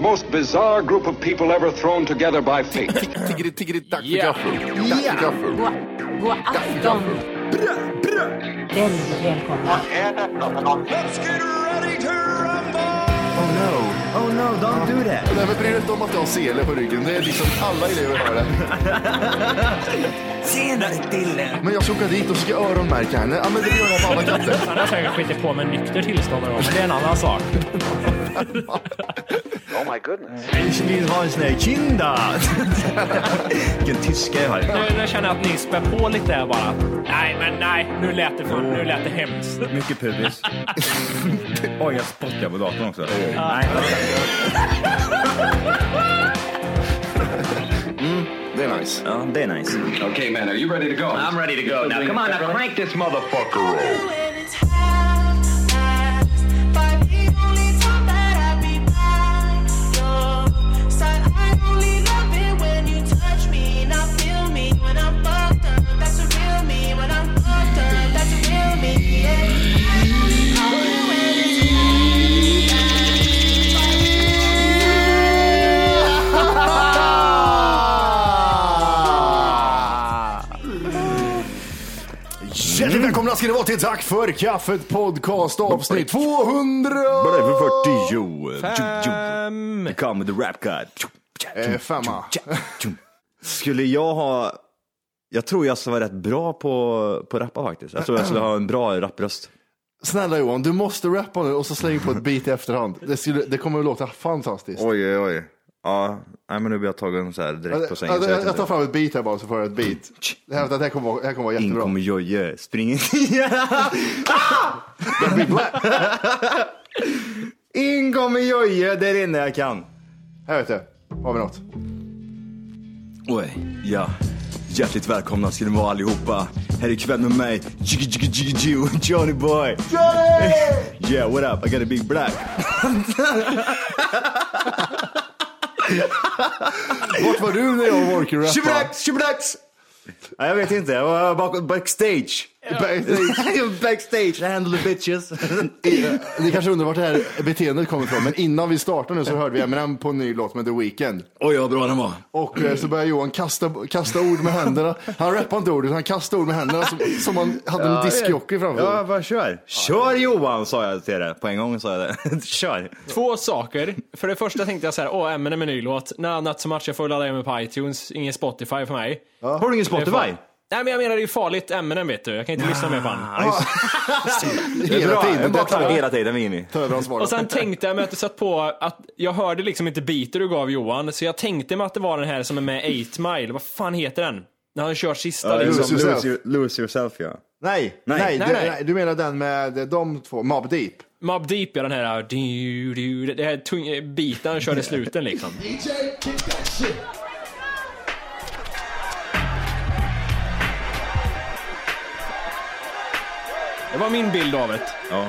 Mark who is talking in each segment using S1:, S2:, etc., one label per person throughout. S1: most bizarre group of people ever thrown together by fate.
S2: Tiggeri, tiggeri, dack för
S3: Ja.
S2: gaffel. Dack för gaffel.
S4: God, god afton. Väldigt välkomna.
S5: Oh no, oh no, don't do that.
S2: Nej, men bry dig inte om att jag har sele på ryggen. Det är liksom alla elever har det.
S5: Senare Dille.
S2: Men jag ska åka dit och ska öronmärka henne. Ja, men det gör jag på alla katter.
S6: Han har säkert skitit på med nykter tillstånd och men det är en annan sak.
S1: Oh,
S5: Ich vill ha en sån här kinda. Vilken tyska jag har.
S6: Nu, nu känner jag att ni spär på lite här bara. Nej, men nej, nu lät det, för, nu lät det hemskt.
S7: Mycket pubis. Oj, jag spottar på datorn också. Nej,
S2: Det är nice.
S7: ja, det är nice.
S1: okay, man, are you ready to go? I'm ready.
S2: Hjärtligt välkomna ska ni vara till Tack för kaffet podcast avsnitt 200!
S7: Bara för 40 jo.
S3: Fem.
S7: Come the rap god.
S2: Eh, femma.
S7: Skulle jag ha... Jag tror jag skulle vara rätt bra på, på rappa faktiskt. Jag tror jag skulle ha en bra rappröst.
S2: Snälla Johan, du måste rappa nu och så släng på ett beat i efterhand. Det, skulle, det kommer att låta fantastiskt.
S7: Oj, oj, oj. Ja, nej, men nu blir jag tagen så här direkt på
S2: Jag,
S7: sängen.
S2: jag,
S7: så jag vet
S2: jag tar
S7: inte.
S2: fram ett beat här bara så får jag ett beat. Det här, det här kommer vara- det här kommer vara
S7: In
S2: jättebra.
S7: kommer Jojje, spring in. in kommer Jojje, det är det enda jag kan.
S2: Här vet du, har vi något.
S7: Oj, ja. Hjärtligt välkomna ska ni vara allihopa. Här ikväll med mig, Jiggy Jiggy Jiggy Jiu, Johnny Boy. Johnny! yeah, what up? I got a big black.
S2: Vart var du när jag och Walker rappade?
S7: Shiblax, shiblax! Nej, jag vet inte. Jag var bak- backstage. backstage, handle the bitches.
S2: Ni kanske undrar vart det här beteendet kommer ifrån, men innan vi startar nu så hörde vi Eminem på en ny låt med The Weeknd.
S7: Oj, vad bra den var.
S2: Och eh, så började Johan kasta, kasta ord med händerna. Han rappade inte ordet, han kastade ord med händerna som, som han hade en diskjockey framför
S7: Ja,
S2: sig.
S7: bara kör. Kör Johan, sa jag till dig. På en gång sa jag det. kör.
S3: Två saker. För det första tänkte jag så här, åh, Eminem är en ny låt. Nej, annat så match, jag får ladda hem mig på iTunes. Ingen Spotify för mig.
S7: Har du ingen
S3: Det är
S7: Spotify?
S3: fan- Nej, men jag menar det är ju farligt, Eminem vet du. Jag kan inte lyssna mer på han.
S2: Hela
S7: Jag är
S2: tiden.
S7: bara
S2: Det
S7: taggad
S2: tar
S7: hela tiden, Vinny.
S2: tar över hans vardag.
S3: Och sen tänkte jag mig att du satt på att jag hörde liksom inte biter du gav Johan, så jag tänkte mig att det var den här som är med 8 Mile. Vad fan heter den? När han kör sista liksom.
S2: Lose Yourself.
S7: Lose your- lose yourself, ja.
S2: Nej, nej,
S7: Nej.
S2: du,
S3: Nej, nej.
S2: nej, du menar den med de två, Mob Deep.
S3: Mob Deep ja, den här, du, du, det här tung, biten han körde i sluten liksom. Det var min bild av det.
S7: ja.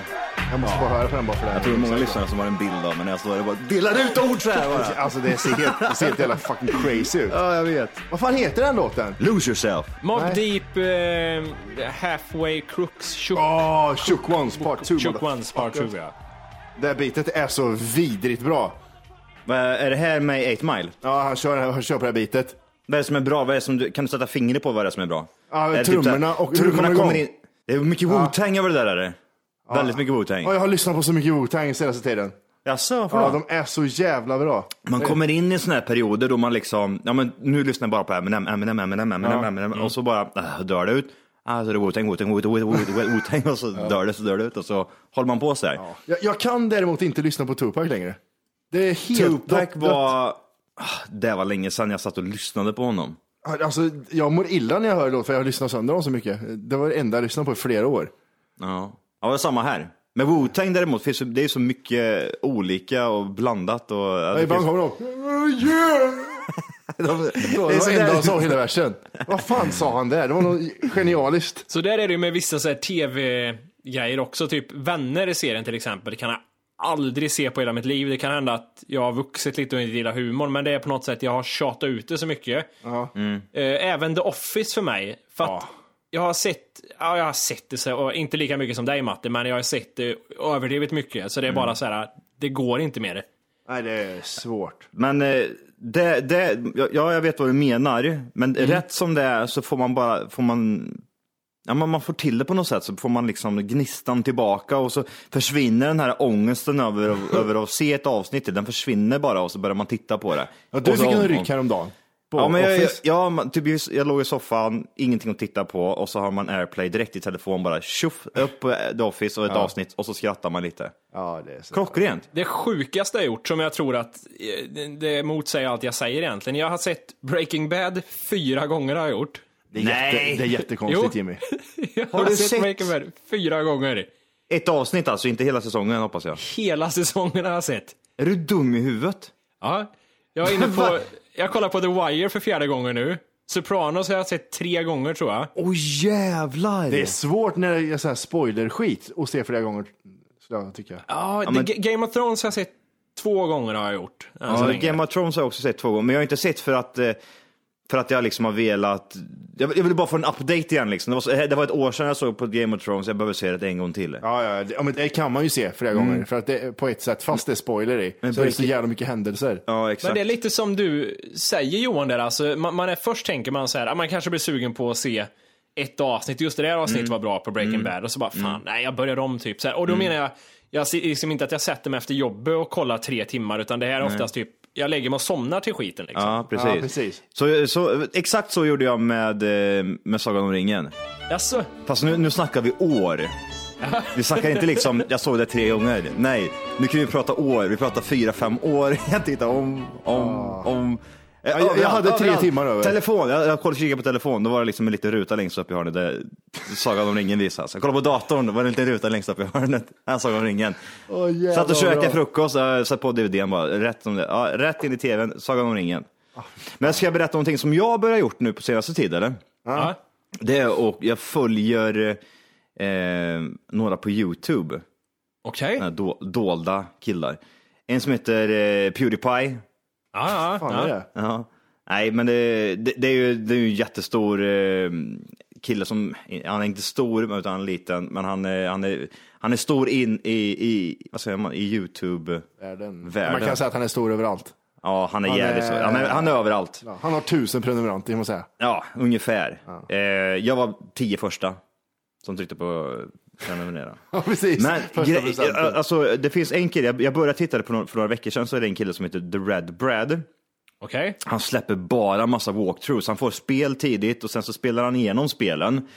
S2: Jag måste bara höra på den bara för det.
S7: Jag tror det är många lyssnare som har en bild av mig när jag står där och bara delar ut ord så här bara.
S2: Alltså det ser helt, det ser helt jävla fucking crazy ut.
S7: Ja, jag vet.
S2: Vad fan heter den låten?
S7: Lose yourself.
S3: Mob
S2: Nej.
S3: Deep, eh, Halfway Crooks, Shook,
S2: Åh, Ah, Shook Ones Part 2.
S3: shook Ones Part 2 ja.
S2: Det här bitet är så vidrigt bra.
S7: Vad är- Är det här med 8 mile?
S2: Ja, han kör, han kör på det här bitet.
S7: Vad är det som är bra? Vad är det som du, kan du sätta fingret på vad det är som är bra?
S2: Ja,
S7: Är det typ
S2: trummorna
S7: så här-
S2: och hur det
S7: trummorna
S2: kommer
S7: kommer,
S2: igång.
S7: in. Det är mycket Wu-Tang över det där är det. Väldigt mycket Wu-Tang.
S2: Ja, jag har lyssnat på så mycket Wu-Tang senaste tiden.
S7: Jaså,
S2: Ja,
S7: ja,
S2: de är så jävla bra.
S7: Man kommer in i såna här perioder då man liksom, ja men nu lyssnar jag bara på Eminem, Eminem, Eminem, Eminem, Eminem och
S2: Mm.
S7: så bara äh, dör det ut. Ah, så är det Wu-Tang, Wu-Tang, Wu-Tang, Wu-Tang, Wu-Tang och så dör det, så dör det ut och så håller man på så här.
S2: Jag, jag kan däremot inte lyssna på Tupac längre. Det är helt
S7: Tupac
S2: dött-
S7: var, ah, det var länge sedan jag satt och lyssnade på honom.
S2: dött. Alltså, jag mår illa när jag hör låt för jag har lyssnat sönder dem så mycket. Det var det enda jag lyssnade på i flera år.
S7: Ja, ja det var samma här. Men Wu-Tang däremot, finns, ju- det är ju så mycket olika och blandat. Och, ja,
S2: Ja,
S7: det
S2: ibland
S7: finns,
S2: kommer de. Yeah! Det var det enda han sa i hela versen. Vad fan sa han där? Det var något genialiskt.
S3: Så där är det ju med vissa så här tv-grejer också, typ vänner i serien till exempel, det kan jag aldrig se på hela mitt liv. Det kan hända att jag har vuxit lite och inte gillar humorn, men det är på något sätt, jag har tjatat ut det så mycket. Eh, Även The Office för mig, för att jag har sett, ja, jag har sett det, så, och inte lika mycket som dig Matte, men jag har sett det överdrivet mycket, så det är bara så här, det går inte mer.
S2: Nej, det är svårt.
S8: Men eh, det, det, ja, jag vet vad du menar, men
S2: Mm.
S8: rätt som det är så får man bara, får man, ja, man, man får till det på något sätt, så får man liksom gnistan tillbaka och så försvinner den här ångesten över, över att se ett avsnitt, den försvinner bara och så börjar man titta på det.
S2: Ja, du
S8: Och så-
S2: fick en ryck häromdagen. På
S8: Ja, men jag, jag,
S2: Office.
S8: ja, man- typ, just- jag låg i soffan, ingenting att titta på och så har man airplay direkt i telefon bara tjoff, upp på The Office och ett avsnitt och så skrattar man lite.
S2: ja, det är så.
S8: Klockrent.
S3: Det sjukaste jag gjort, som jag tror att eh, det- det motsäger allt jag säger egentligen. Jag har sett Breaking Bad fyra gånger har jag gjort.
S2: Det är, jätte, det är jättekonstigt Jimmy.
S3: Jag
S8: Har du sett-
S3: Breaking Bad fyra gånger.
S8: Ett avsnitt alltså, inte hela säsongen hoppas jag.
S3: Hela säsongen har jag sett.
S8: Är du dum i huvudet?
S3: Ja. Jag är inne på, jag kollar på The Wire för fjärde gången nu. Sopranos har jag sett tre gånger tror jag.
S8: Åh oh, jävlar!
S2: Det är svårt när det är så här spoilerskit och se flera gånger. Skulle jag tycka.
S3: Ja,
S8: men-
S3: The Ga- Game of Thrones har jag sett två gånger har jag gjort. Alltså, än så
S8: Ja,
S3: länge.
S8: Game of Thrones har jag också sett två gånger, men jag har inte sett för att, eh, för att jag liksom har velat... Jag vill jag ville bara få en update igen liksom. Det var, så, det var ett år sedan jag såg på Game of Thrones, jag behöver se det en gång till.
S2: Ja, ja, det, ja, men det kan man ju se flera gånger. För att det är på ett sätt, fast det är spoiler i, så är det så jävla mycket händelser.
S8: Ja,
S3: Men
S8: exakt.
S3: det är lite som du säger Johan där, alltså, man, man är, först tänker man så här, ah, man kanske blir sugen på att se ett avsnitt, just det där avsnittet var bra på Breaking Bad, och så bara fan, nej jag börjar om typ. Så här. Och då menar jag, jag ser liksom inte att jag sätter mig efter jobbet och kollar tre timmar, utan det här är oftast typ, jag lägger mig och somnar till skiten liksom.
S8: Ja, precis.
S2: Ja, precis.
S8: Så, så, exakt så gjorde jag med, eh, med Sagan om ringen.
S3: Jaså?
S8: Fast nu, nu snackar vi år. Vi snackar inte liksom, jag såg det tre gånger. Nej, nu kan vi prata år. Vi pratar fyra, fem år. Jag tittar om, om, om. Eh,
S2: Ah. jag- jag
S8: överallt,
S2: hade tre
S8: överallt.
S2: timmar över.
S8: Telefon, jag, jag kollade kikade på telefon. Då var det liksom en liten ruta längst upp i hörnet där Sagan om ringen visas. Jag kollade på datorn, då var det en liten ruta längst upp i hörnet. Här Sagan om ringen.
S2: Åh, jävlar,
S8: Satt och
S2: vad bra.
S8: käkade frukost, äh, satt på DVDn bara. Rätt, som det. Ja, rätt in i tvn, Sagan om ringen.
S2: Ah,
S8: Men ska jag berätta någonting som jag börjar gjort nu på senaste tid eller?
S3: Ja.
S8: Det är och jag följer eh, några på Youtube,
S3: Okej.
S8: eh, do, dolda killar. En som heter eh, Pewdiepie.
S3: Ja, ja,
S2: Fan,
S3: ja.
S2: är det?
S8: Ja. Nej, men det, det, det är ju det är ju en jättestor eh, kille som, han är inte stor utan han är liten, men han, är- han, är, han är stor in i, i vad säger man, i Youtube.
S2: Världen.
S8: Världen.
S2: Man kan säga att han är stor överallt.
S8: Ja, han är
S2: Han är-
S8: jävligt stor. Han är, han är överallt.
S2: Ja, han har tusen prenumeranter, måste jag säga.
S8: Ja, ungefär. Eh, jag var tio första som tryckte på prenumerera.
S2: Ja, precis.
S8: Men
S2: Första
S8: gre-
S2: presenten.
S8: eh, alltså, det finns en kille, jag- jag började titta på några, för några veckor sedan, så är det en kille som heter The Red Brad.
S3: Okej.
S8: Han släpper bara massa walkthroughs. Han får spel tidigt och sen så spelar han igenom spelen.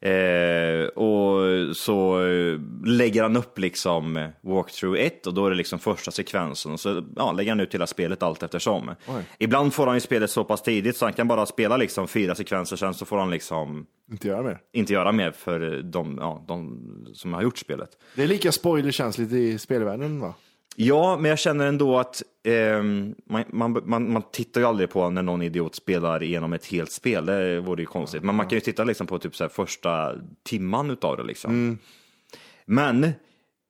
S8: Eh, och så eh, lägger han upp liksom eh, walkthrough 1 och då är det liksom första sekvensen. Och Så ja, lägger han ut hela spelet allt eftersom. Ibland får han ju spelet så pass tidigt så han kan bara spela liksom fyra sekvenser, sen så får han liksom
S2: Inte göra mer.
S8: inte göra mer för eh, de, ja, de som har gjort spelet.
S2: Det är lika spoilerkänsligt i spelvärlden, va?
S8: Ja, men jag känner ändå att ehm, man, man, man, man tittar ju aldrig på när någon idiot spelar igenom ett helt spel. Det vore ju konstigt. Men man kan ju titta liksom på typ så här första timman utav det. Liksom. Men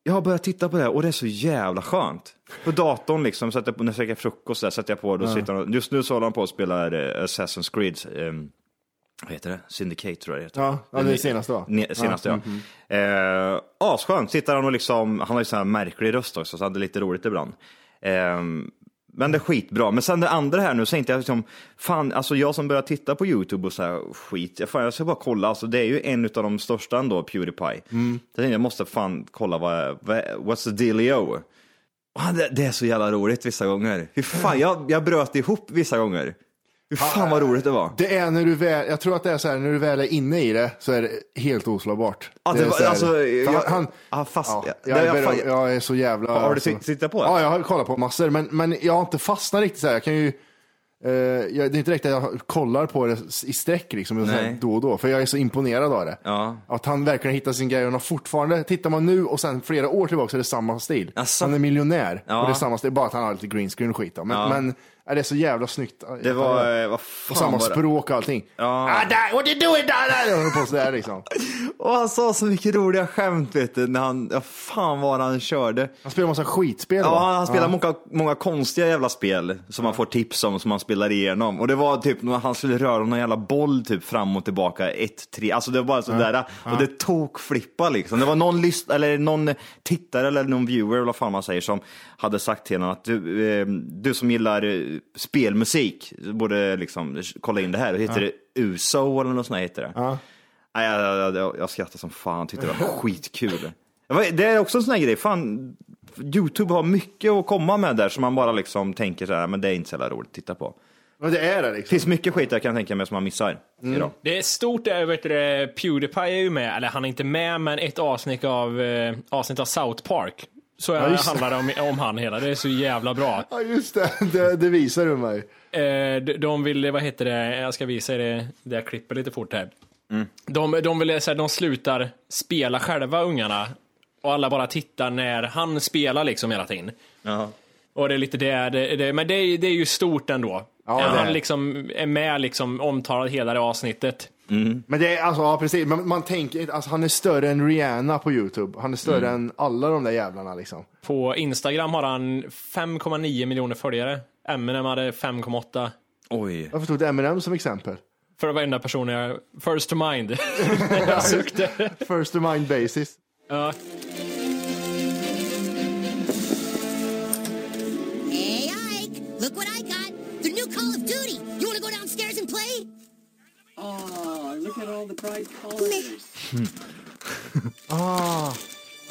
S8: jag har börjat titta på det här och det är så jävla skönt. På datorn liksom, sätter jag på, när jag käkar frukost där, sätter jag på det och sitter han- Just nu så håller han på och spelar eh, Assassin's Creed. ehm, vad heter det? Syndicate tror jag det heter.
S2: Ja, ja det är senaste, va?
S8: Ne- Senaste ja. Eh, asskönt, sitter han och liksom, han har ju sån här märklig röst också så han hade lite roligt ibland. Eh, men det är skitbra. Men sen det andra här nu så tänkte jag liksom, fan alltså jag som börjar titta på YouTube och så här skit, jag, fan, jag ska bara kolla, alltså det är ju en av de största ändå, Pewdiepie. Mm. Jag tänkte jag måste fan kolla vad, vad what's the dealio? Och han- Det, det är så jävla roligt vissa gånger. Fy fan, jag, jag bröt ihop vissa gånger. Fy fan vad roligt det var.
S2: Det är när du väl, jag tror att det är så här, när du väl är inne i det så är det helt oslagbart.
S8: Ja, det
S2: är
S8: var-
S2: så här-
S8: alltså,
S2: för
S8: jag-
S2: han,
S8: ja, Ah, fast-
S2: ja,
S8: det-
S2: jag, är
S8: jag
S2: beröm-
S8: fan-
S2: jag är så jävla... alltså-
S8: Har du titt- tittat på det?
S2: Ja, jag har kollat på massor, men, men jag har inte fastnat riktigt så här. Jag kan ju... eh, jag, det är inte direkt att jag kollar på det i sträck liksom, så här,
S8: Nej.
S2: då och då, för jag är så imponerad av det.
S8: Ja.
S2: Att han verkligen hittar sin grej och han har fortfarande, tittar man nu och sen flera år tillbaka så är det samma stil.
S8: Asså?
S2: Han är miljonär
S8: Ja.
S2: och det är samma stil, bara att han har lite green screen och skit. Då. Men, men Ja, Det är så jävla snyggt.
S8: Det var, eh, vad fan
S2: Och samma
S8: var det?
S2: språk och allting.
S8: Ja.
S2: Ah, där, what you doing down there? Jag håller på sådär liksom.
S8: Och han sa så mycket roliga skämt vet du, när han, ja, fan vad han körde.
S2: Han spelar massa skitspel va?
S8: Ja, han spelar många, många konstiga jävla spel som man får tips om som man spelar igenom. Och det var typ när han skulle röra någon jävla boll typ fram och tillbaka, ett, tre, alltså det var bara sådär. Och det tog flippa liksom. Det var någon, lyst, eller någon tittare eller någon viewer eller vad fan man säger som hade sagt till honom att du, eh, du som gillar eh, spelmusik du borde liksom kolla in det här. Och heter det USO eller något sånt här heter det. Nej, jag, jag, jag, jag skrattade som fan, tyckte det var skitkul. Det var- Det är också en sån här grej, fan, Youtube har mycket att komma med där som man bara liksom tänker så här, men det är inte så jävla roligt att titta på.
S2: Men det är det
S8: Det
S2: liksom.
S8: finns mycket skit jag kan tänka mig som man missar idag.
S3: Det är stort där, vet du, det, Pewdiepie är ju med, eller han är inte med, men ett avsnitt av, eh, avsnitt av South Park. Så ja,
S2: just det.
S3: handlar det om, om han hela, det är så jävla bra.
S2: Ja just det, det, det visar du mig.
S3: Eh, de- de ville, vad heter det, jag ska visa er det, det jag klipper lite fort här. De, de ville säga, de slutar spela själva ungarna och alla bara tittar när han spelar liksom hela tiden. Och det är lite det, det, det men det, är- det är ju stort ändå.
S2: Ja, det är.
S3: han liksom är med liksom omtalad hela det avsnittet.
S2: Men det är alltså, ja precis, men man tänker inte- alltså han är större än Rihanna på YouTube. Han är större
S8: Mm.
S2: än alla de där jävlarna liksom.
S3: På Instagram har han 5,9 miljoner följare. Eminem hade 5,8.
S8: Oj.
S2: Varför tog du Eminem som exempel?
S3: För det var enda personen jag... First to mind. när jag sökte.
S2: First to mind basis.
S3: Ja.
S9: Hey, Ike, look what I got. The new Call of Duty. You want to go downstairs and play?
S10: Oh, look at all the bright colors.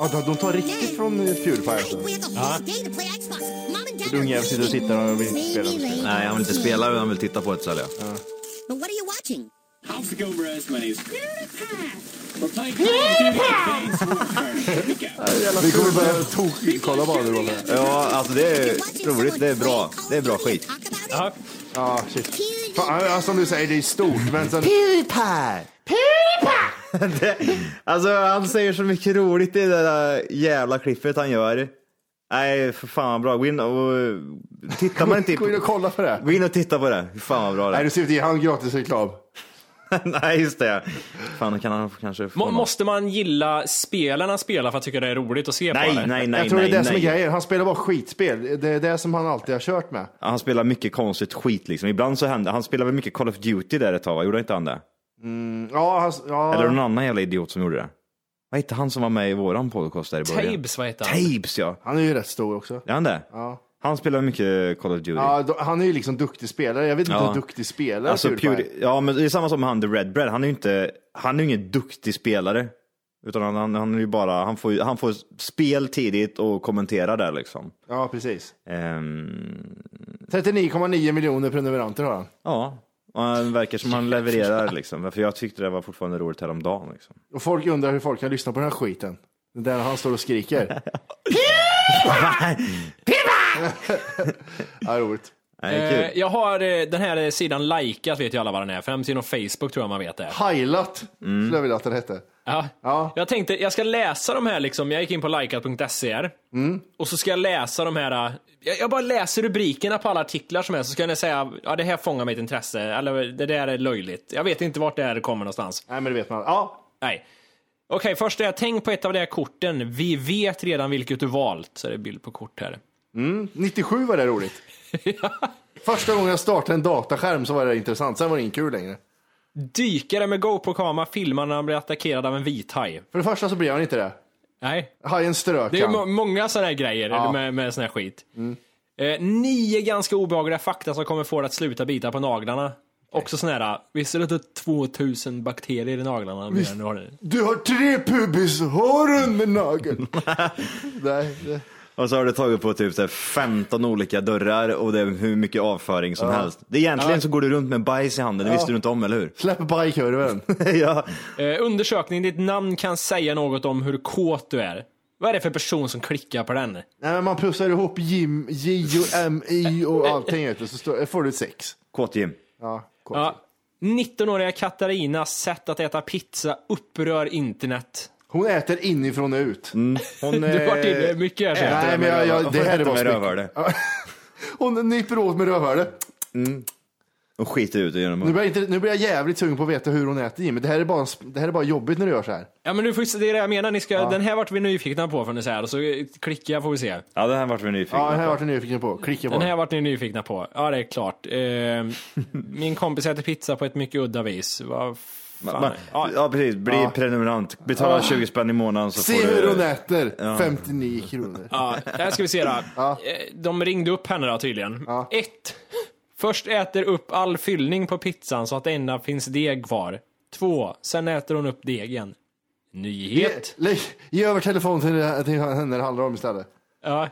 S2: Ja, de, de tar riktigt från eh, Pewdiepie
S9: Ike,
S2: alltså.
S9: we have the whole day to play Xbox. Mom and Dad are
S2: Ungjävel sitter och tittar och vill inte spela.
S9: Maybe later.
S8: Nej, han vill inte spela, han vill titta på det istället.
S9: But what are you watching?
S10: How's it going, Brass Money's? We're playing Call of Duty Advanced Warfare. Look out.
S2: Vi kommer börja tokkolla bara nu. Rolle.
S8: Ja, alltså det är
S9: Watching
S8: roligt, det är
S9: someone
S8: bra.
S9: play Call
S8: Det är bra skit.
S9: of Duty and talk about
S3: Ja.
S9: it?
S2: Ja, shit.
S9: Pewdiepie.
S2: Fan, ja, som du säger, det är stort, men sen...
S8: Typ Pewdiepie! Pewdiepie! alltså han säger så mycket roligt i det där jävla klippet han gör. Nej, för fan vad bra. Gå in och... Tittar man inte...
S2: Gå in och kolla på det.
S8: Gå in och titta på det. Fy Fan vad bra det
S2: Nej,
S8: är.
S2: du ser ut, ge han gratis reklam.
S8: Nej, just det. Fan, då kan han kanske få
S3: Må-
S8: någon-
S3: Måste man gilla spelen han spelar för att tycka det är roligt att se på?
S8: Nej,
S3: eller?
S8: nej, nej.
S2: Jag tror
S8: nej,
S2: det är det som är
S8: nej.
S2: grejen. Han spelar bara skitspel. Det är det som han alltid har kört med.
S8: Han spelar mycket konstigt skit liksom. Ibland så händer... Han spelar väl mycket Call of Duty där ett tag, va? Gjorde inte han det?
S2: Ja, han, ja.
S8: Eller någon annan jävla idiot som gjorde det? Vad hette han som var med i våran podcast där i början?
S3: Tabes, vad heter han?
S8: Tabes, ja.
S2: han är ju rätt stor också.
S8: Är han det?
S2: Ja.
S8: Han spelar mycket Call of Duty.
S2: Ja, då- han är ju liksom duktig spelare. Jag vet inte
S8: Ja.
S2: hur duktig spelare
S8: Alltså,
S2: Pewdiepie är.
S8: Pewdie- ja, men det är samma som han, The Red Bread. Han är ju inte, han är ju ingen duktig spelare. Utan han, han, han är ju bara, han får, ju- han får spel tidigt och kommentera där liksom.
S2: Ja, precis.
S8: Ehm,
S2: 39,9 miljoner prenumeranter har han.
S8: ja, och han verkar som han levererar liksom. För jag tyckte det var fortfarande roligt häromdagen. Liksom.
S2: Och folk undrar hur folk kan lyssna på den här skiten. Det Där han står och skriker. ja, roligt.
S8: Nej, det är
S3: Eh,
S8: kul.
S3: jag har eh, den här sidan likat vet ju alla vad den är. Främst inom Facebook tror jag man vet det.
S2: Highlat,
S3: Mm.
S2: skulle jag vilja att den hette.
S3: Ja.
S2: Ja.
S3: Jag tänkte, jag ska läsa de här liksom. Jag gick in på likat.se här. Och så ska jag läsa de här. eh, Jag, jag bara läser rubrikerna på alla artiklar som är, så ska jag säga, ja det här fångar mitt intresse, eller det där är löjligt. Jag vet inte vart det här kommer någonstans.
S2: Nej, men det vet man. Ja,
S3: Nej. Okej, först är jag tänk på ett av de här korten. Vi vet redan vilket du valt. Så är det bild på kort här.
S2: 97 var det roligt. Första gången jag startade en dataskärm så var det intressant, sen var det inte kul längre.
S3: Dykare med GoPro-kamera filmar när han blir attackerad av en vithaj.
S2: För det första så blev han inte det.
S3: Nej,
S2: Hajen strök
S3: det är ju må-
S2: han.
S3: många sådana här grejer med, med sån här skit. Eh, nio ganska obehagliga fakta som kommer få dig att sluta bita på naglarna. Också sån här, visste du att det är 2000 bakterier i naglarna? mer än du har nu?
S2: Du har tre pubishår under nageln. Nej, det...
S8: Och så har du tagit på typ så här 15 olika dörrar och det är hur mycket avföring som helst. Det är egentligen så går du runt med bajs i handen, det visste du inte om, eller hur?
S2: Släpp bajkurven.
S8: ja.
S3: Eh, undersökning, ditt namn kan säga något om hur kåt du är. Vad är det för person som klickar på den?
S2: Nej, men man pussar ihop Jim, J och M, I och allting vet du, så står, får du ett sex.
S8: Kåt-Jim.
S2: Ja, cool.
S3: Ja. 19-åriga Katarinas sätt att äta pizza upprör internet.
S2: Hon äter inifrån och ut. eh,
S8: Hon,
S3: Du har varit inne mycket här.
S8: äter
S3: Äh,
S2: Nej,
S8: den
S2: men jag-
S8: med
S2: jag-
S8: röva-
S2: Mm. det här
S8: äter
S2: var
S8: med
S2: snyggt.
S8: rövhålet.
S2: Hon nyper åt med rövhålet.
S8: Och skiter ut det genom
S2: Nu blir, jag inte, nu blir jag jävligt sugen på att veta hur hon äter Jimmy. Det här är bara, det här är bara jobbigt när du gör så här.
S3: Ja men du får, det är det jag menar, ni ska, den här vart vi nyfikna på får ni säga, och så klickar jag får vi se.
S8: Ja, det här vart vi nyfikna
S2: Ja, den här
S8: på.
S2: vart jag nyfiken på. Klicka på
S3: Den
S2: den.
S3: här vart ni nyfikna på, ja det är klart. Ehm, min kompis äter pizza på ett mycket udda vis. Vad fan
S8: Men-
S3: är-
S8: Ja, precis. Bli prenumerant. Betala 20 spänn i månaden så
S2: Se
S8: får
S2: hur
S8: du...
S2: hon äter. 59 kronor.
S3: Ja, här ska vi se då. Eh, De ringde upp henne då tydligen. Ett. Först äter upp all fyllning på pizzan så att det enda finns deg kvar. Två. Sen äter hon upp degen. Nyhet.
S2: Ge, ge över telefon till, till henne det handlar om istället.
S3: Ja.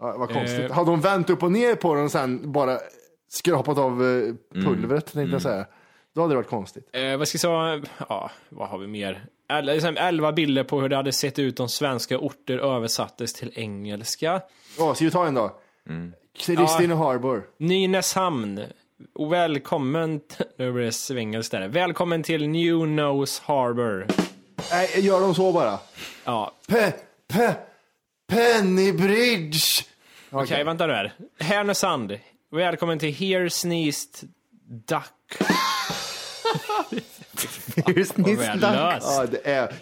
S2: Ja, vad konstigt.
S3: Eh.
S2: Hade hon vänt upp och ner på den och sen bara skrapat av eh, pulvret tänkte jag säga. Då hade det varit konstigt.
S3: Eh, vad ska jag säga? Ja, vad har vi mer? Eller, liksom, Elva bilder på hur det hade sett ut om svenska orter översattes till engelska.
S2: Ja, ska vi ta en då? Kristina Harbour.
S3: Nynäshamn. Välkommen... t- Nu blir det svengelskt där. Välkommen till New Nose Harbor.
S2: Nej, gör de så bara?
S3: Ja,
S2: Pe, pe, Pennybridge.
S3: Okej, vänta nu här. Härnösand. Välkommen till Here Sneezed Duck. Vad löst.
S2: Ja, det är...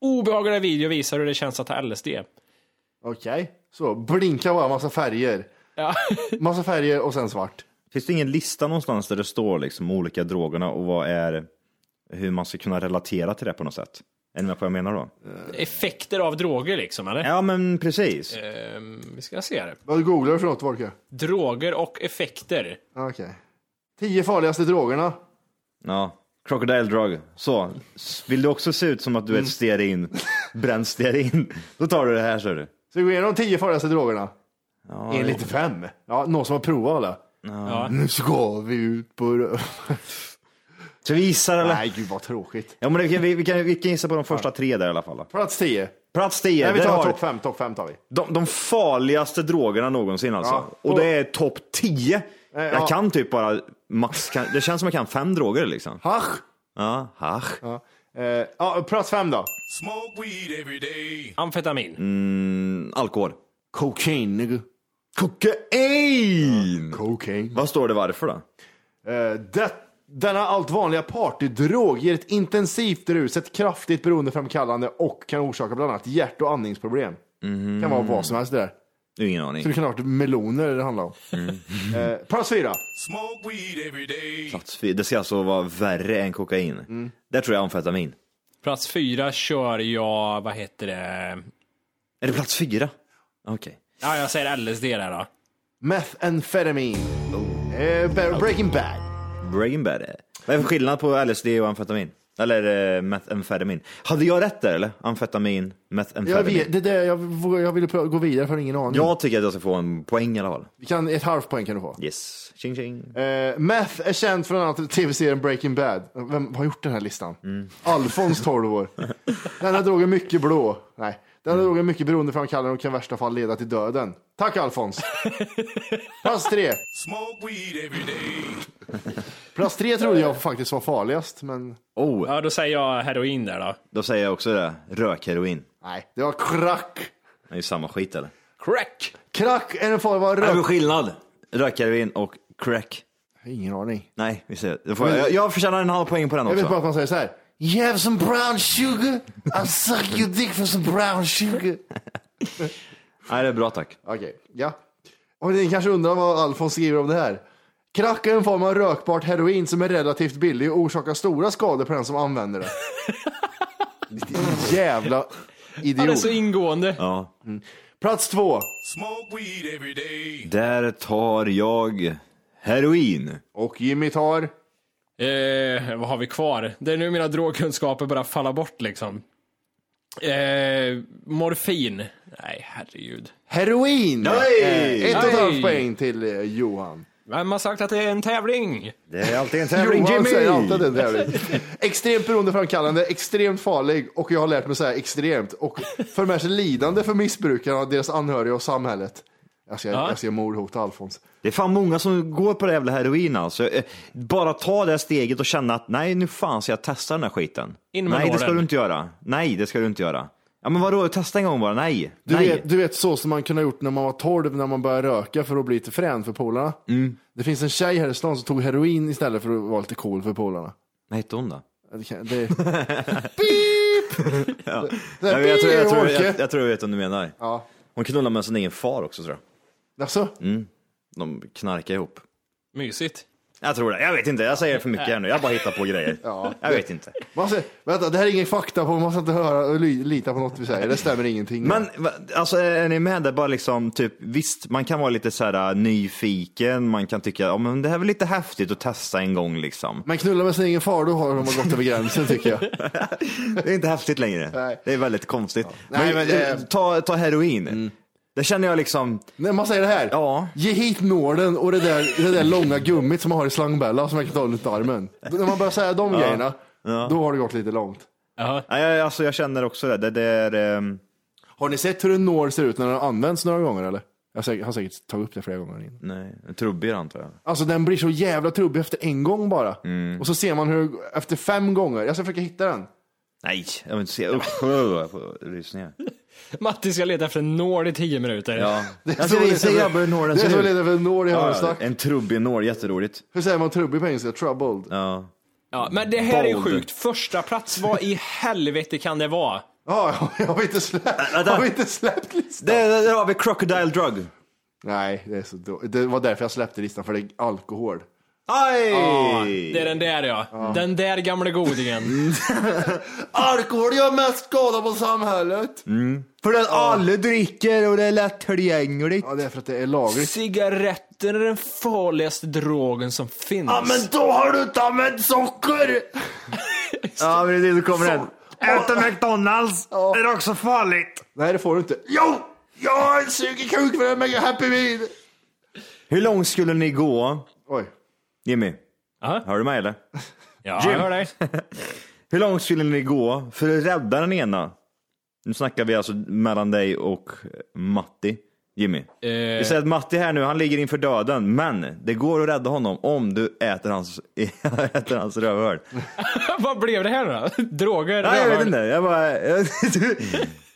S3: Obehagliga video visar hur det känns att ha LSD.
S2: Okej. Så, blinka bara, massa färger.
S3: Ja.
S2: Massa färger och sen svart.
S8: Finns det ingen lista någonstans där det står liksom olika drogerna och vad är... Hur man ska kunna relatera till det på något sätt? Är ni med på vad jag menar då?
S3: Effekter av droger liksom, eller?
S8: Ja, men precis.
S3: Ehm, vi ska se här.
S2: Vad googlar du för något, Volker?
S3: Droger och effekter.
S2: Okej. Tio farligaste drogerna.
S8: Ja. Crocodile drug. Så. S- Vill du också se ut som att
S2: Mm.
S8: du är ett stearin, bränd stearin, då tar du det här ser du.
S2: Så vi går igenom tio farligaste drogerna. Enligt vem? Ja, någon som har provat alla.
S3: Ja.
S2: Nu ska vi ut på rö-
S8: Så vi gissar eller?
S2: Nej, gud vad tråkigt.
S8: Ja, men vi kan, vi, vi, kan, vi kan gissa på de första tre där i alla fall. då.
S2: Plats tio.
S8: Plats 10.
S2: Nej, vi
S8: där
S2: tar
S8: har-
S2: topp fem. Topp fem tar vi.
S8: De, de farligaste drogerna någonsin alltså.
S2: Ja.
S8: Och det är topp 10. jag
S2: ja.
S8: kan typ bara max, kan, det känns som jag kan fem droger liksom.
S2: Hasch.
S8: Ja, hasch.
S2: Ja. Eh, ja, plats fem då.
S3: Amfetamin.
S8: Alkohol.
S2: Cocaine.
S8: Kokain!
S2: Cocaine.
S8: Vad står det varför då?
S2: Eh, det, denna allt vanliga partydrog ger ett intensivt rus, ett kraftigt beroendeframkallande och kan orsaka bland annat hjärt och andningsproblem.
S8: Mhm.
S2: Kan vara vad som helst det där.
S8: Ingen
S2: Så
S8: aning.
S2: det kan ha varit meloner det handlar om. Eh, plats fyra.
S8: Plats fyra. Det ska alltså vara värre än kokain.
S2: Mm.
S8: Där tror jag amfetamin.
S3: Plats fyra kör jag, vad heter det?
S8: Är det plats fyra? Okej.
S3: Ja, jag säger LSD där då.
S2: Methamphetamine. Eh, Be- breaking Bad.
S8: Breaking Bad. Vad är för skillnad på LSD och amfetamin? Eller eh, metamfetamin? Hade jag rätt där eller? Amfetamin, metamfetamin.
S2: Jag, vet, det där, jag, vågar- jag ville pröva- gå vidare för ingen aning.
S8: jag tycker att jag ska få en poäng i alla fall.
S2: Vi kan, ett halvt poäng kan du få.
S8: Yes. Tjing tjing.
S2: Eh, meth är känd från bland annat tv-serien Breaking Bad. Vem har gjort den här listan?
S8: Mm.
S2: Alfons, 12 år. Denna drog är mycket blå. Nej, denna drog är mycket beroendeframkallande och kan i värsta fall leda till döden. Tack Alfons! Plats tre. Plats tre trodde jag faktiskt var farligast, men
S8: Oh,
S3: Ja, då säger jag heroin där då.
S8: då säger jag också det. Rökheroin.
S2: nej, det var crack.
S8: Det är ju samma skit eller?
S3: Crack!
S2: Crack är en form av
S8: Vad är
S2: rök.
S8: för skillnad? Rökheroin och crack.
S2: Ingen aning.
S8: Nej, vi ser. Då får jag, jag, jag förtjänar en halv poäng på den
S2: Jag vet bara
S8: också.
S2: att man säger så här. You have some brown sugar? I'll suck your dick for some brown sugar.
S8: Nej, det är bra tack.
S2: Okej, ja. Och ni kanske undrar vad Alfons skriver om det här. Crack är en form av rökbart heroin som är relativt billig och orsakar stora skador på den som använder det. Ditt jävla
S3: Han är
S2: idiot.
S3: så ingående.
S8: Ja.
S2: Plats två.
S8: Där tar jag heroin.
S2: Och Jimmy tar.
S3: Eh, vad har vi kvar? Det är nu mina drogkunskaper bara falla bort liksom. Eh, morfin. Nej, herregud.
S2: Heroin!
S8: Nej!
S2: Eh, ett och ett
S3: Nej!
S2: halvt poäng till eh, Johan.
S3: Vem har sagt att det är en tävling?
S8: Det är alltid en
S2: Johan
S8: tävling
S2: säger alltid
S8: Jimmy!
S2: att det är en tävling. Extremt beroendeframkallande, extremt farlig och jag har lärt mig säga extremt och för med sig lidande för missbrukarna, deras anhöriga och samhället. Jag ser,
S3: Ja.
S2: jag ser mordhot Alfons.
S8: Det är fan många som går på det jävla heroin alltså. Eh, Bara ta det här steget och känna att nej, nu fan ska jag testa den här skiten.
S3: In med
S8: nej, det
S3: nålen.
S8: ska du inte göra. Nej, det ska du inte göra.
S7: Ja men vadå, testa en gång bara. Nej.
S2: Du
S7: Nej.
S2: vet, du vet så som man kunde ha gjort när man var 12, när man började röka för att bli lite frän för polarna.
S7: Mm.
S2: Det finns en tjej här i stan som tog heroin istället för att vara lite cool för polarna.
S7: Vad hette hon då?
S2: Ja, Det, kan- det... Beep! Det, det,
S7: Nej, men jag, tror, jag, tror, jag, jag,
S2: Orke.
S7: tror jag vet vad du menar.
S2: Ja.
S7: Hon knullar med sin egen far också tror jag.
S2: Alltså,
S7: De knarkar ihop.
S3: Mysigt.
S7: Jag tror det. Jag vet inte, jag säger för mycket här nu. Jag bara hittar på grejer.
S2: Ja.
S7: Jag vet inte.
S2: man ska, vänta, det här är ingen fakta på, man ska inte höra och ly- lita på något vi säger, det stämmer ingenting.
S7: Men va- alltså, är ni med där? Bara liksom, typ, visst, man kan vara lite så här äh, nyfiken, man kan tycka ja, men det här är väl lite häftigt att testa en gång liksom.
S2: Men knulla med sin egen far, då har de gått över gränsen tycker jag.
S7: Det är inte häftigt längre.
S2: Nej.
S7: Det är väldigt konstigt.
S2: Nej,
S7: men,
S2: men Mm. det-
S7: eh, ta, ta heroin. Det känner jag liksom,
S2: När man säger det här,
S7: Ja.
S2: ge hit nålen och det där, det där långa gummit som man har i slangbella som man kan ta runt armen. När man börjar säga de grejerna, då har det gått lite långt.
S7: nej, jag, alltså, jag känner också det. det, det är, ehm,
S2: Har ni sett hur en nål ser ut när den används några gånger eller? Jag har säkert- har säkert tagit upp det flera gånger innan.
S7: nej, trubbigare antar jag.
S2: Alltså den blir så jävla trubbig efter en gång bara.
S7: Mm.
S2: Och så ser man hur, efter fem gånger, jag ska försöka hitta den.
S7: Nej, jag vill inte se. Usch, jag får rysningar.
S3: Matti ska leta efter en nål i tio minuter.
S7: Ja.
S2: är
S7: Jag ska
S2: så
S7: visa
S2: lite-
S7: grabbar hur nålen
S2: Det är
S7: ser
S2: så
S7: ut.
S2: lite för en nål i
S7: Ja,
S2: hörnstack.
S7: en trubbig nål, jätteroligt.
S2: Hur säger man trubbig på engelska? Troubled.
S7: Ja.
S3: Ja, men det här är
S7: Bold.
S3: sjukt. Första plats, vad i helvete kan det vara?
S2: Ja, jag har inte släppt,
S7: vänta.
S2: har vi inte släppt listan?
S7: Där, där, där har vi Crocodile Drug.
S2: Nej, det, är så då... det var därför jag släppte listan, för det är alkohol.
S7: Aj!
S3: Det är den där ja. Den där gamla godingen.
S2: Alkohol gör mest skada på samhället.
S7: För att alla dricker och det är lättillgängligt.
S2: Ja, det är för att det är lagligt.
S3: Cigaretten är den farligaste drogen som finns.
S2: då har du inte använt socker!
S7: Ja, men det är det kommer den. Äta McDonalds, det är också farligt.
S2: Nej, det får du inte. Jo! Jag suger kuk för en mega happy meal!
S7: Hur långt skulle ni gå?
S2: Oj.
S7: Jimmy,
S3: Aha.
S7: hör du mig eller?
S3: Ja, jag hör dig.
S7: Hur långt skulle ni gå för att rädda den ena? Nu snackar vi alltså mellan dig och Matti, Jimmy.
S3: Eh,
S7: Vi säger att Matti här nu, han ligger inför döden, men det går att rädda honom om du äter hans, äter hans rövhål.
S3: Vad blev det här då? Droger?
S7: Nej, jag
S3: rövar.
S7: vet inte. Jag bara, du,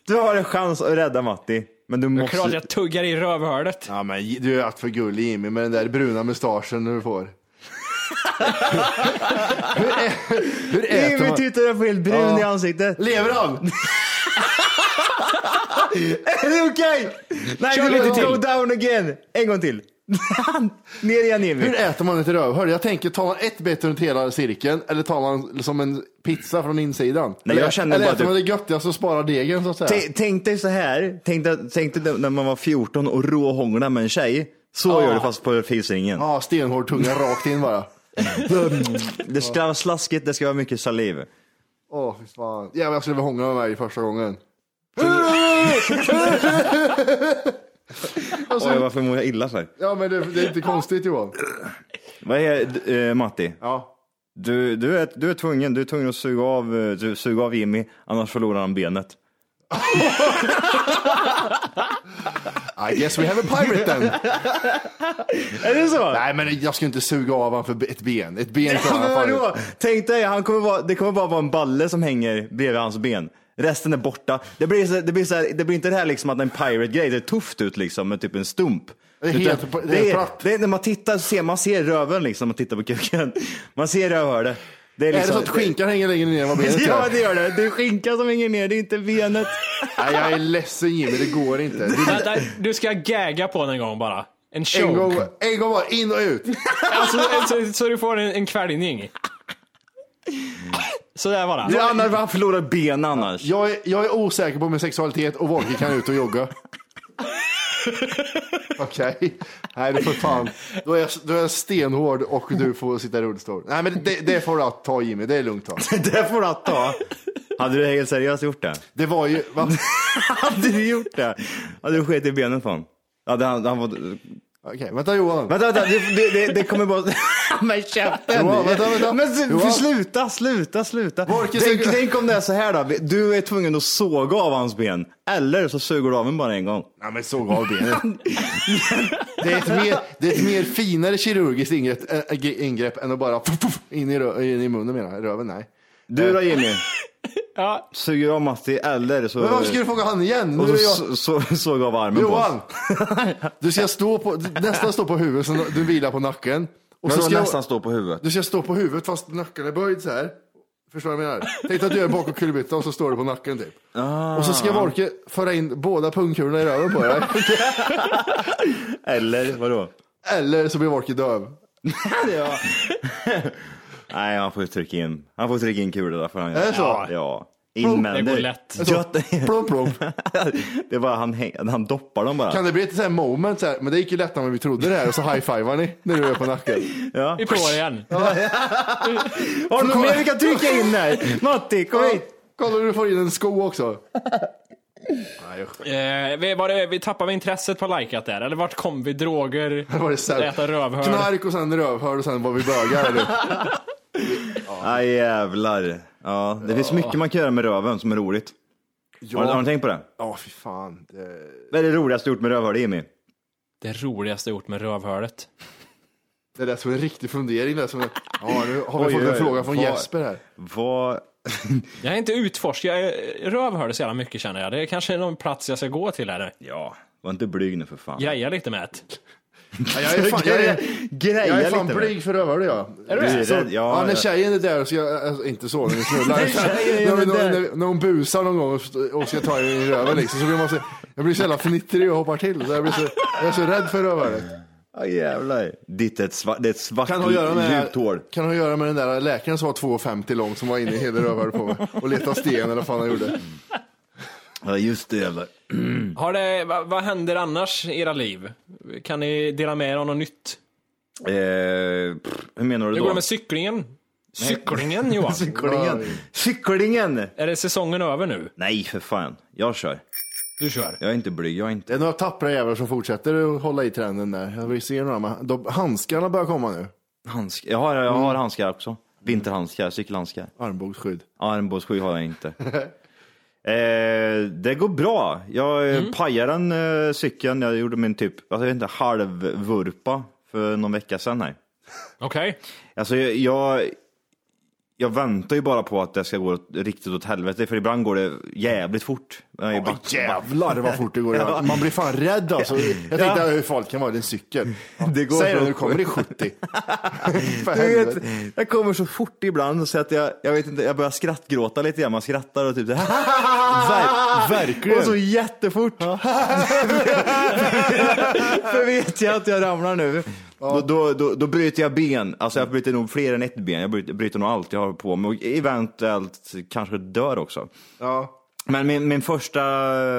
S7: du har en chans att rädda Matti, men du måste...
S3: Klart jag tuggar i rövhålet.
S2: Ja, men du är allt för gullig Jimmy med den där bruna mustaschen du får. hur, ä- hur äter
S7: Jimmy
S2: man?
S7: tittar jag på helt brun
S2: Ja.
S7: i ansiktet.
S2: Lever han?
S7: Är det okej? Nej,
S2: Kör
S7: du
S2: lite
S7: vill inte
S2: till.
S7: go down again. En gång till. Ner igen Jimmy.
S2: Hur äter man ett rövhål? Jag tänker, tar man ett bett runt hela cirkeln eller tar man som en pizza från insidan?
S7: jag
S2: eller
S7: känner
S2: eller
S7: bara typ-
S2: äter
S7: att
S2: man
S7: du-
S2: det göttigaste och sparar degen så att säga?
S7: T- Tänk dig så här, tänk dig, tänk dig när man var 14 och råhånglade med en tjej. Så gör du fast på fisringen.
S2: Ja, stenhård tunga rakt in bara.
S7: Det ska vara slaskigt, det ska vara mycket saliv.
S2: Åh, fy fan. Jävlar, jag skulle vilja hångla med mig första gången.
S7: Oj, varför mår jag illa för?
S2: Ja, men det, det är inte konstigt Johan.
S7: Vad är, eh, Matti,
S2: Ja.
S7: du, du, är, du är tvungen, du är tvungen att suga av, eh, du, suga av Jimmy, annars förlorar han benet.
S2: I guess we have a pirate then.
S7: Är det så?
S2: Nej, men jag skulle inte suga av honom för ett ben. Ett ben
S7: Ja,
S2: klarar
S7: men
S2: han
S7: vadå?
S2: fan.
S7: Tänk dig, han kommer vara, det kommer bara vara en balle som hänger bredvid hans ben. Resten är borta. Det blir, så, det blir, så här, det blir inte det här liksom att en pirate-grej, det är tufft ut liksom med typ en stump.
S2: Det är
S7: Utan
S2: helt- det är
S7: det är,
S2: platt.
S7: det är, när man tittar så ser man ser röven liksom, man tittar på kuken. Man ser rövhålet. Det är,
S2: Är det
S7: liksom,
S2: så att skinkan hänger längre ner än vad benet
S7: Ja
S2: gör?
S7: det gör det. Det är skinkan som hänger ner, det är inte benet.
S2: Nej, jag är ledsen Jimmy, det går inte. Du,
S3: Vänta, du ska gagga på den en gång bara. En
S2: en,
S3: choke.
S2: gång, en gång bara, in och ut.
S3: Alltså, så, så du får en, en kväljning. Så där bara.
S7: Det är annars han förlorar ben annars.
S2: Jag är, jag är osäker på min sexualitet och Wolke kan ut och jogga. Okej, nej du får fan. Då är, jag, då är jag stenhård och du får sitta i rullstol. Nej men det, det får du ta Jimmy, det är lugnt ta.
S7: Det får du att ta. Hade du helt seriöst gjort det?
S2: Det var ju, va?
S7: Hade du gjort det? Hade du skitit i benet på honom? Hade han, han fått
S2: Okej, vänta Johan.
S7: Vänta, vänta, det, det, det, det kommer bara... Men käften!
S2: Johan, vänta, vänta.
S7: Men s-
S2: Johan.
S7: sluta, sluta, sluta.
S2: Borkes-
S7: Tänk, tänk om det är så här då, du är tvungen att såga av hans ben, eller så suger du av en bara en gång.
S2: Nej men såg av benet. det, är ett mer, det är ett mer finare kirurgiskt ingrepp, äh, ingrepp än att bara in i, rö- in i munnen menar jag, röven nej.
S7: Du då Jimmy?
S3: Ja.
S8: Suger av Matti eller så...
S2: Men varför ska du fråga han igen? Nu
S8: och
S2: är
S8: så,
S2: det jag...
S8: så, så, såg jag av armen på
S2: Johan!
S8: oss.
S2: Du ska stå på, nästan stå på huvudet, så du vilar på nacken. Och så ska
S8: Men ska
S2: jag-
S8: nästan stå på huvudet.
S2: Du ska stå på huvudet fast nacken är böjd så här. Förstår du vad jag menar? Tänk dig att du är bakom kullerbyttan och så står du på nacken typ.
S8: Ah.
S2: Och så ska Volke föra in båda pungkulorna i röven på dig.
S8: Eller vadå?
S2: Eller så blir Volke döv.
S8: Nej, han får ju trycka in. Han får trycka in kulor där får han
S2: Är det så?
S8: Ja. Invändigt.
S3: Det går
S2: Alltså,
S3: lätt.
S8: Gött.
S2: Plom, plom.
S8: Det var han, häng- han doppar dem bara.
S2: Kan det bli ett så här moment så här, men det gick ju lättare än vad vi trodde det här och så high-fivar ni när du är på nacken.
S8: Ja.
S3: Vi provar igen.
S8: Har du något mer vi kan trycka in här? Matti, kom hit!
S2: Kolla du får in en sko också.
S3: Eh, vi, var det, vi tappade intresset på likat där, eller vart kom vi? Droger?
S2: Det var det så här,
S3: Äta rövhörn.
S2: Knark och sen rövhörd och sen var vi bögar. eller?
S8: Aj jävlar. Ja, det finns mycket man kan göra med röven som är roligt. Har, du- har
S2: Ja,
S8: du tänkt på det?
S2: ja fy fan. Det...
S8: Vad är det roligaste du gjort med rövhål, Jimmy?
S3: Det roligaste jag gjort med rövhålet.
S2: Det lät som en riktig fundering. Det lät som en... Ja, nu har vi
S8: Oj,
S2: fått en
S8: oj,
S2: fråga från
S8: vad-
S2: Jesper här.
S8: Vad...
S3: Jag har inte utforskat eh, rövhålet så jävla mycket känner jag. Det är kanske någon plats jag ska gå till här nu.
S8: Ja, var inte blyg nu för fan.
S3: Greja lite med det.
S2: Ja, jag är fan, jag är,
S8: Greja
S2: jag är fan
S8: lite.
S2: blyg för rövare jag. Är
S8: du det?
S2: Så,
S8: Ja,
S2: ja, när
S8: ja.
S2: tjejen är där så jag, alltså, inte så när vi knullar. när, vi- när, när, när hon busar någon gång och- och ska ta i röven liksom, så blir man så, jag blir så jävla fnittrig och hoppar till. Så jag, blir så, jag är så rädd för rövare.
S8: Aj jävlar. Ditt är ett svart, det är ett svart
S2: Kan ha att göra med,
S8: djupt hår.
S2: kan ha att göra med den där läkaren som var 2,50 lång som var inne i hela rövhålet på mig och letade sten eller vad fan han gjorde.
S8: Ja, just det jävlar.
S3: Har det, va, vad händer annars i era liv? Kan ni dela med er av något nytt?
S8: Eh, pff, hur menar du
S3: Hur
S8: då?
S3: går det med cyklingen? Cyklingen Johan?
S8: cyklingen? Cyklingen!
S3: Är det säsongen över nu?
S8: Nej, för fan. Jag kör.
S3: Du kör?
S8: Jag är inte blyg. Jag är inte...
S2: Det är några tappra jävlar som fortsätter att hålla i trenden där. Jag vill se några, men de, handskarna börjar komma nu.
S8: Handsk... Jag, har, jag har handskar också. Vinterhandskar, cykelhandskar.
S2: Armbågsskydd.
S8: Armbågsskydd har jag inte. eh, det går bra. Jag mm. pajade den eh, cykeln. Jag gjorde min typ, alltså, jag vet inte, halvvurpa för någon vecka sedan här.
S3: Okej.
S8: Alltså jag, jag, jag väntar ju bara på att det ska gå åt- riktigt åt helvete, för ibland går det jävligt fort. Jag är back-
S2: Jävlar vad fort det går. att göra. Man blir fan rädd alltså. Jag tänkte hur farligt kan vara det en cykel?
S8: Det går
S2: Säg
S8: så
S2: det, nu
S8: fort.
S2: kommer det 70. För
S8: Du vet,
S2: helvete.
S8: jag kommer så fort ibland så att jag, jag vet inte, jag börjar skrattgråta lite grann. Man skrattar och typ så här. Ver, verkligen. Ah! Och så jättefort. För vet jag att jag ramlar nu. Då, då, då, då bryter jag ben, alltså jag bryter nog fler än ett ben, jag bryter, bryter nog allt jag har på mig och eventuellt kanske dör också.
S2: Ja.
S8: Men min, min första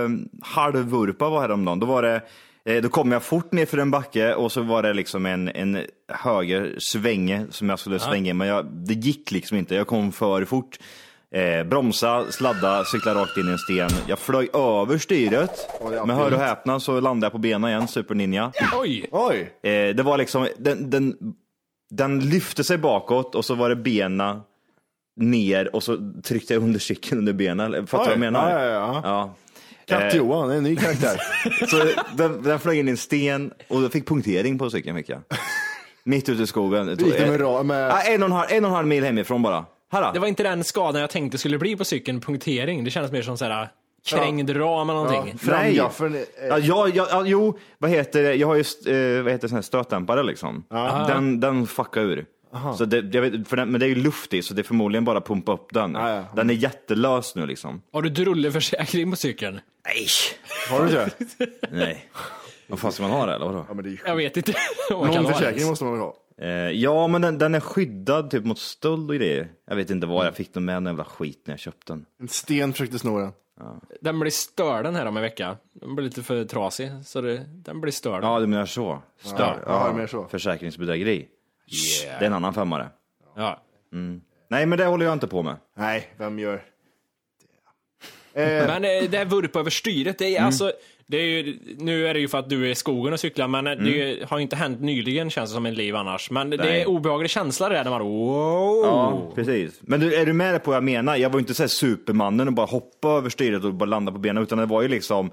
S8: eh, halvvurpa var häromdagen. Då, var det, eh, då kom jag fort ner för en backe och så var det liksom en, en höger svänge som jag skulle svänga in. men jag, det gick liksom inte. Jag kom för fort. Eh, bromsa, sladda, cykla rakt in i en sten. Jag flög över styret,
S2: det är
S8: men hör och
S2: absolut.
S8: häpna så landade jag på benen igen, superninja.
S3: Oj!
S2: Oj,
S8: Eh, det var liksom, den, den, den lyfte sig bakåt och så var det bena ner och så tryckte jag under cykeln under benen. Eller, Fattar du vad jag
S2: Oj.
S8: menar?
S2: Ja, ja,
S8: ja. Eh,
S2: Katt-Johan, en ny karaktär.
S8: så den, den flög in i en sten och jag fick punktering på cykeln. Fick jag. Mitt ute i skogen. Det
S2: Du
S8: tog-
S2: gick det med,
S8: eh,
S2: ra-
S8: ah,
S2: med
S8: en, och en, halv, en och en halv mil hemifrån bara. Här
S3: Det
S8: då.
S3: var inte den skadan jag tänkte skulle bli på cykeln, punktering. Det kändes mer som såhär krängd ram eller någonting.
S2: framgaffeln. eh,
S8: Ja, jag, jag, ja, jo, vad heter det? Jag har ju st- eh, vad heter det, sån här stötdämpare liksom. Den, den fuckar ur. Så det, jag vet, för den, men det är ju luft i, så det är förmodligen bara att pumpa upp den.
S2: Ja, ja.
S8: Den är jättelös nu liksom.
S3: Har du drulleförsäkring på cykeln?
S8: Nej.
S2: Har du inte det?
S8: Nej. Vad fan ska man ha det eller vadå?
S2: Ja, men det är ju sjukt.
S3: Jag vet inte. Vad kan det
S2: Någon
S3: vara?
S2: försäkring måste man väl ha?
S8: Eh, ja, men den, den är skyddad typ mot stöld och grejer. Jag vet inte var jag fick den med, den jävla skit när jag köpte den.
S2: En sten försökte sno den.
S3: Den blir störd den här om en vecka. Den blir lite för trasig, så det, den blir störd.
S8: Ja, du menar så? Stör.
S2: Ja, jag menar så.
S8: Försäkringsbedrägeri. Det är en annan femmare.
S3: Ja.
S8: Nej, men det håller jag inte på med.
S2: Nej, vem gör?
S3: Men eh, det här vurpa över styret, det är alltså... Det är ju, nu är det ju för att du är i skogen och cyklar, men eh, det är ju- har ju inte hänt nyligen känns det som i liv annars. Men det
S8: Nej.
S3: är obehaglig känsla det där när man wow.
S8: Ja, precis. Men du, är du med på vad jag menar? Jag var ju inte så här supermannen och bara hoppa över styret och bara landa på benen, utan det var ju liksom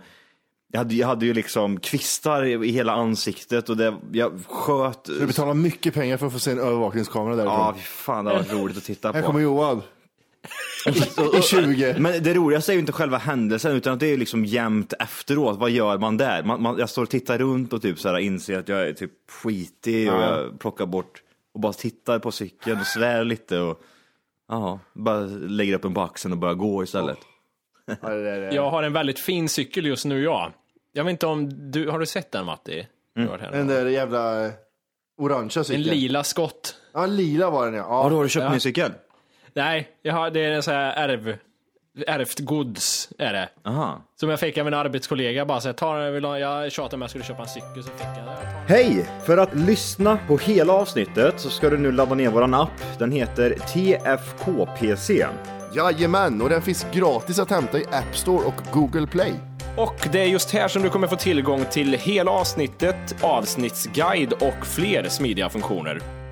S8: jag hade, jag hade ju liksom kvistar i i hela ansiktet och det, jag sköt.
S2: Du betalar mycket pengar för att få se en övervakningskamera därifrån.
S8: Ja, fy fan det var roligt att titta på.
S2: Här kommer Johan. I 20.
S7: Men det roligaste är ju inte själva händelsen utan att det är liksom jämnt efteråt. Vad gör man där? Man, man, jag står och tittar runt och typ så här, inser att jag är typ skitig och jag plockar bort och bara tittar på cykeln och svär lite och ja, bara lägger upp en på axeln och börjar gå istället.
S2: Ja, det där är-
S3: Jag har en väldigt fin cykel just nu, jag. Jag vet inte om du, har du sett den Matti? Du har varit här.
S2: Den där jävla eh, orangea
S3: En
S2: cykeln.
S3: lila skott.
S2: ja, lila var den ja. ja.
S7: Ja, då har du köpt en ny cykel?
S3: Nej, jag har, det är en sån här ärv, ärvt gods är det.
S7: Aha.
S3: Som jag fick av min arbetskollega bara så här, ta den, jag vill ha- jag tjatade om jag skulle köpa en cykel så fick jag den.
S7: Hej! För att lyssna på hela avsnittet så ska du nu ladda ner våran app. Den heter TFKPC.
S2: Jajamän, och den finns gratis att hämta i App Store och Google Play.
S11: Och det är just här som du kommer få tillgång till hela avsnittet, avsnittsguide och fler smidiga funktioner.